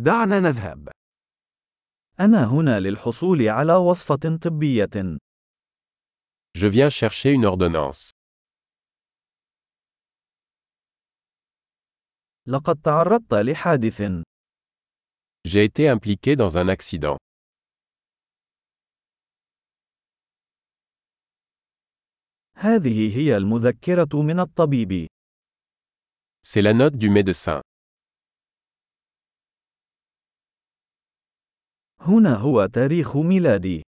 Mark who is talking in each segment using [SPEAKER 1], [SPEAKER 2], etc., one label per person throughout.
[SPEAKER 1] دعنا نذهب.
[SPEAKER 2] أنا هنا للحصول على وصفة طبية.
[SPEAKER 3] Je viens chercher une ordonnance.
[SPEAKER 2] لقد تعرضت لحادث.
[SPEAKER 3] J'ai été impliqué dans un accident.
[SPEAKER 2] هذه هي المذكرة من الطبيب.
[SPEAKER 3] C'est la note du médecin.
[SPEAKER 2] هنا هو تاريخ ميلادي.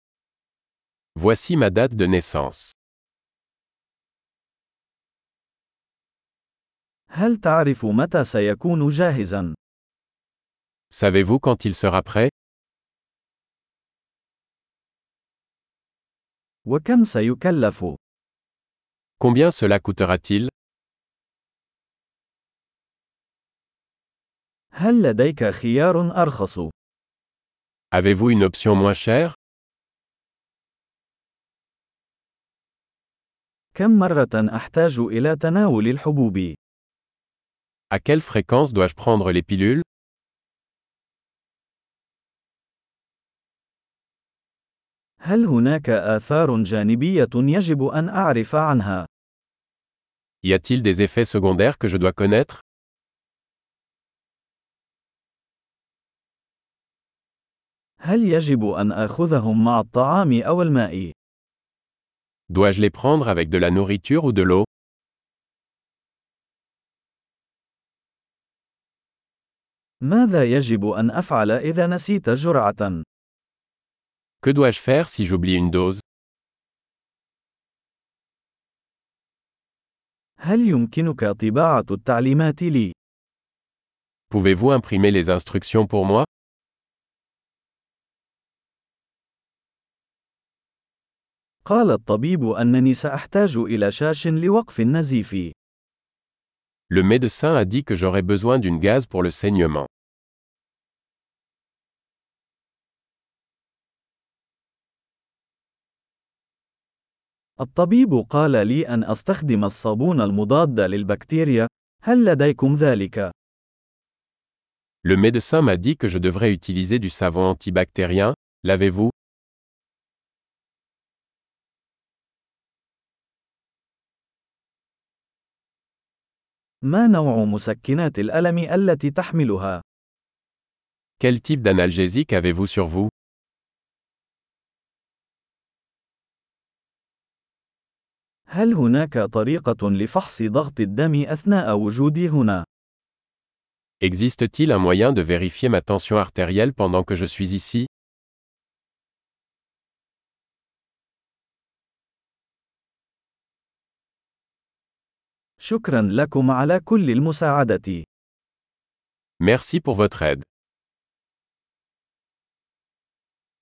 [SPEAKER 3] Voici ma date de naissance.
[SPEAKER 2] هل تعرف متى سيكون جاهزا؟
[SPEAKER 3] Savez-vous quand il sera prêt
[SPEAKER 2] وكم سيكلف؟
[SPEAKER 3] Combien cela coûtera-t-il
[SPEAKER 2] هل لديك خيار أرخص؟
[SPEAKER 3] Avez-vous une option moins chère
[SPEAKER 2] كم مرة أحتاج إلى تناول الحبوب؟
[SPEAKER 3] À quelle fréquence dois-je prendre les pilules
[SPEAKER 2] هل هناك آثار جانبية يجب أن أعرف عنها؟
[SPEAKER 3] Y a-t-il des effets secondaires que je dois connaître
[SPEAKER 2] هل يجب أن آخذهم مع الطعام أو الماء؟
[SPEAKER 3] Dois-je les prendre avec de la nourriture ou de l'eau
[SPEAKER 2] ماذا يجب أن أفعل إذا نسيت جرعة؟
[SPEAKER 3] Que dois-je faire si j'oublie une dose
[SPEAKER 2] هل يمكنك طباعة التعليمات لي؟
[SPEAKER 3] Pouvez-vous imprimer les instructions pour moi
[SPEAKER 2] قال الطبيب أنني سأحتاج إلى شاش لوقف النزيف.
[SPEAKER 3] Le médecin a dit que j'aurais besoin d'une gaz pour le saignement.
[SPEAKER 2] الطبيب قال لي أن أستخدم الصابون المضاد للبكتيريا. هل لديكم ذلك؟
[SPEAKER 3] Le médecin m'a dit que je devrais utiliser du savon antibactérien, l'avez-vous
[SPEAKER 2] ما نوع مسكنات الألم التي تحملها؟
[SPEAKER 3] Quel type d'analgésique avez-vous sur vous
[SPEAKER 2] هل هناك طريقة لفحص ضغط الدم أثناء وجودي هنا؟
[SPEAKER 3] Existe-t-il un moyen de vérifier ma tension artérielle pendant que je suis ici
[SPEAKER 2] شكرا لكم على كل المساعدة.
[SPEAKER 3] Merci pour votre aide.